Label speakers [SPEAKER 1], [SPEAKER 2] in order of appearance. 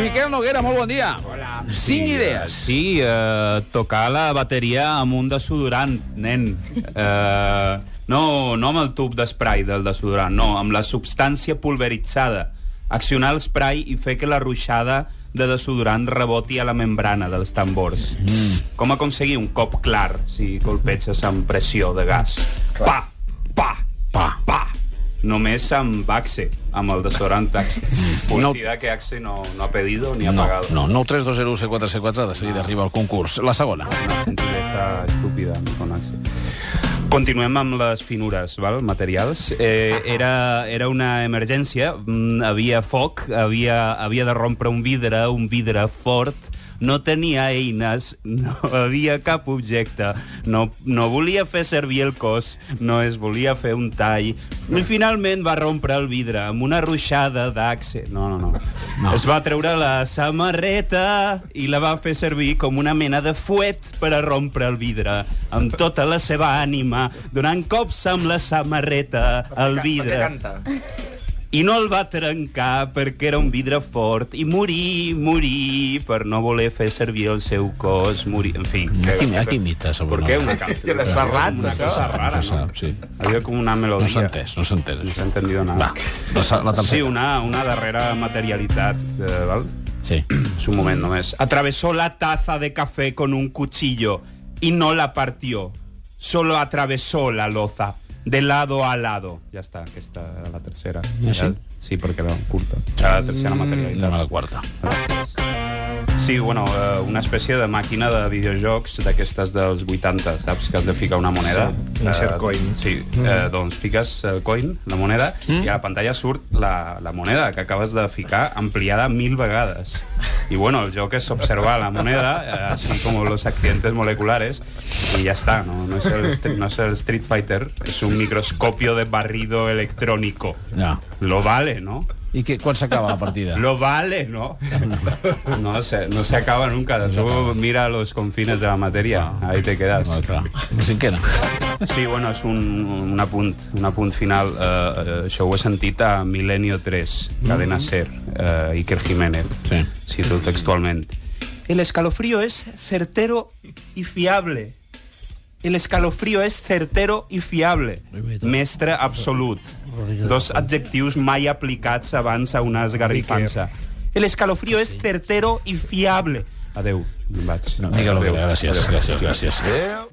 [SPEAKER 1] Miquel Noguera, molt bon dia.
[SPEAKER 2] Hola.
[SPEAKER 1] Cinc idees.
[SPEAKER 2] Sí, eh, tocar la bateria amb un desodorant, nen. Eh, no, no amb el tub d'esprai del desodorant, no, amb la substància pulveritzada. Accionar l'esprai i fer que la ruixada de desodorant reboti a la membrana dels tambors. Mm. Com aconseguir un cop clar si colpeges amb pressió de gas? Pa, pa, pa, pa. Només amb Axe, amb el desodorant Axe.
[SPEAKER 1] No.
[SPEAKER 2] Publicidad que Axe no, no ha pedido ni ha
[SPEAKER 3] No,
[SPEAKER 2] pagado.
[SPEAKER 3] no, 9 3 2 0 6 4 6 4 de seguida arriba al concurs. La segona.
[SPEAKER 2] Una gentilesa estúpida, con Axe. Continuem amb les finures, val? materials. Eh, era, era una emergència, mm, havia foc, havia, havia de rompre un vidre, un vidre fort, no tenia eines, no havia cap objecte, no, no volia fer servir el cos, no es volia fer un tall, i finalment va rompre el vidre amb una ruixada d'axe. No, no, no, no. Es va treure la samarreta i la va fer servir com una mena de fuet per a rompre el vidre, amb tota la seva ànima, donant cops amb la samarreta al vidre. I no el va trencar perquè era un vidre fort i morir, morir per no voler fer servir el seu cos, morir... En fi.
[SPEAKER 3] A qui, a qui imita, sobre
[SPEAKER 2] Per què una cançó?
[SPEAKER 4] De Serrat,
[SPEAKER 2] Una
[SPEAKER 4] això?
[SPEAKER 2] cosa rara,
[SPEAKER 3] No se
[SPEAKER 2] no?
[SPEAKER 3] sap, sí.
[SPEAKER 2] Havia com una melodia.
[SPEAKER 3] No s'ha entès, no s'ha entès.
[SPEAKER 2] No s'ha
[SPEAKER 3] això.
[SPEAKER 2] entendido nada.
[SPEAKER 3] Va, la, se- la
[SPEAKER 2] "Ah, Sí,
[SPEAKER 3] tercera.
[SPEAKER 2] una, una darrera materialitat, eh, val?
[SPEAKER 3] Sí.
[SPEAKER 2] És un moment només. Atravesó la taza de café con un cuchillo y no la partió. Solo atravesó la loza, de lado a lado. Ja està, aquesta era la tercera.
[SPEAKER 3] Ah, sí?
[SPEAKER 2] Sí, perquè era curta. Era la tercera
[SPEAKER 3] Anem
[SPEAKER 2] materialitat.
[SPEAKER 3] a la quarta.
[SPEAKER 2] Sí, bueno, eh, una espècie de màquina de videojocs d'aquestes dels 80, saps? Que has de ficar una moneda.
[SPEAKER 4] Sí, insert coin.
[SPEAKER 2] Sí, eh, doncs fiques el coin, la moneda, i a la pantalla surt la, la moneda que acabes de ficar ampliada mil vegades. I bueno, el joc és observar la moneda, eh, així com los accidentes moleculares, i ja està, no, no, és, el, Street- no és el Street Fighter, és un microscopio de barrido electrónico.
[SPEAKER 3] Ja.
[SPEAKER 2] Lo vale, ¿no?
[SPEAKER 3] I què, quan s'acaba la partida?
[SPEAKER 2] Lo vale, ¿no? No se, no se acaba nunca. Tú mira los confines de la materia. Ahí te quedas.
[SPEAKER 3] No, clar. La cinquena.
[SPEAKER 2] Sí, bueno, és un, un apunt, un apunt final. Uh, això ho he sentit a Milenio 3, Cadena Ser, uh, Iker Jiménez.
[SPEAKER 3] Sí.
[SPEAKER 2] Cito textualment. El escalofrío es certero y fiable. El escalofrío es certero y fiable. Mestre absolut. Dos adjectius mai aplicats abans a una esgarrifança. El escalofrío es certero y fiable. Adeu. Em vaig.
[SPEAKER 3] Miquel Noguera, gràcies, gràcies, gràcies.
[SPEAKER 4] Adéu.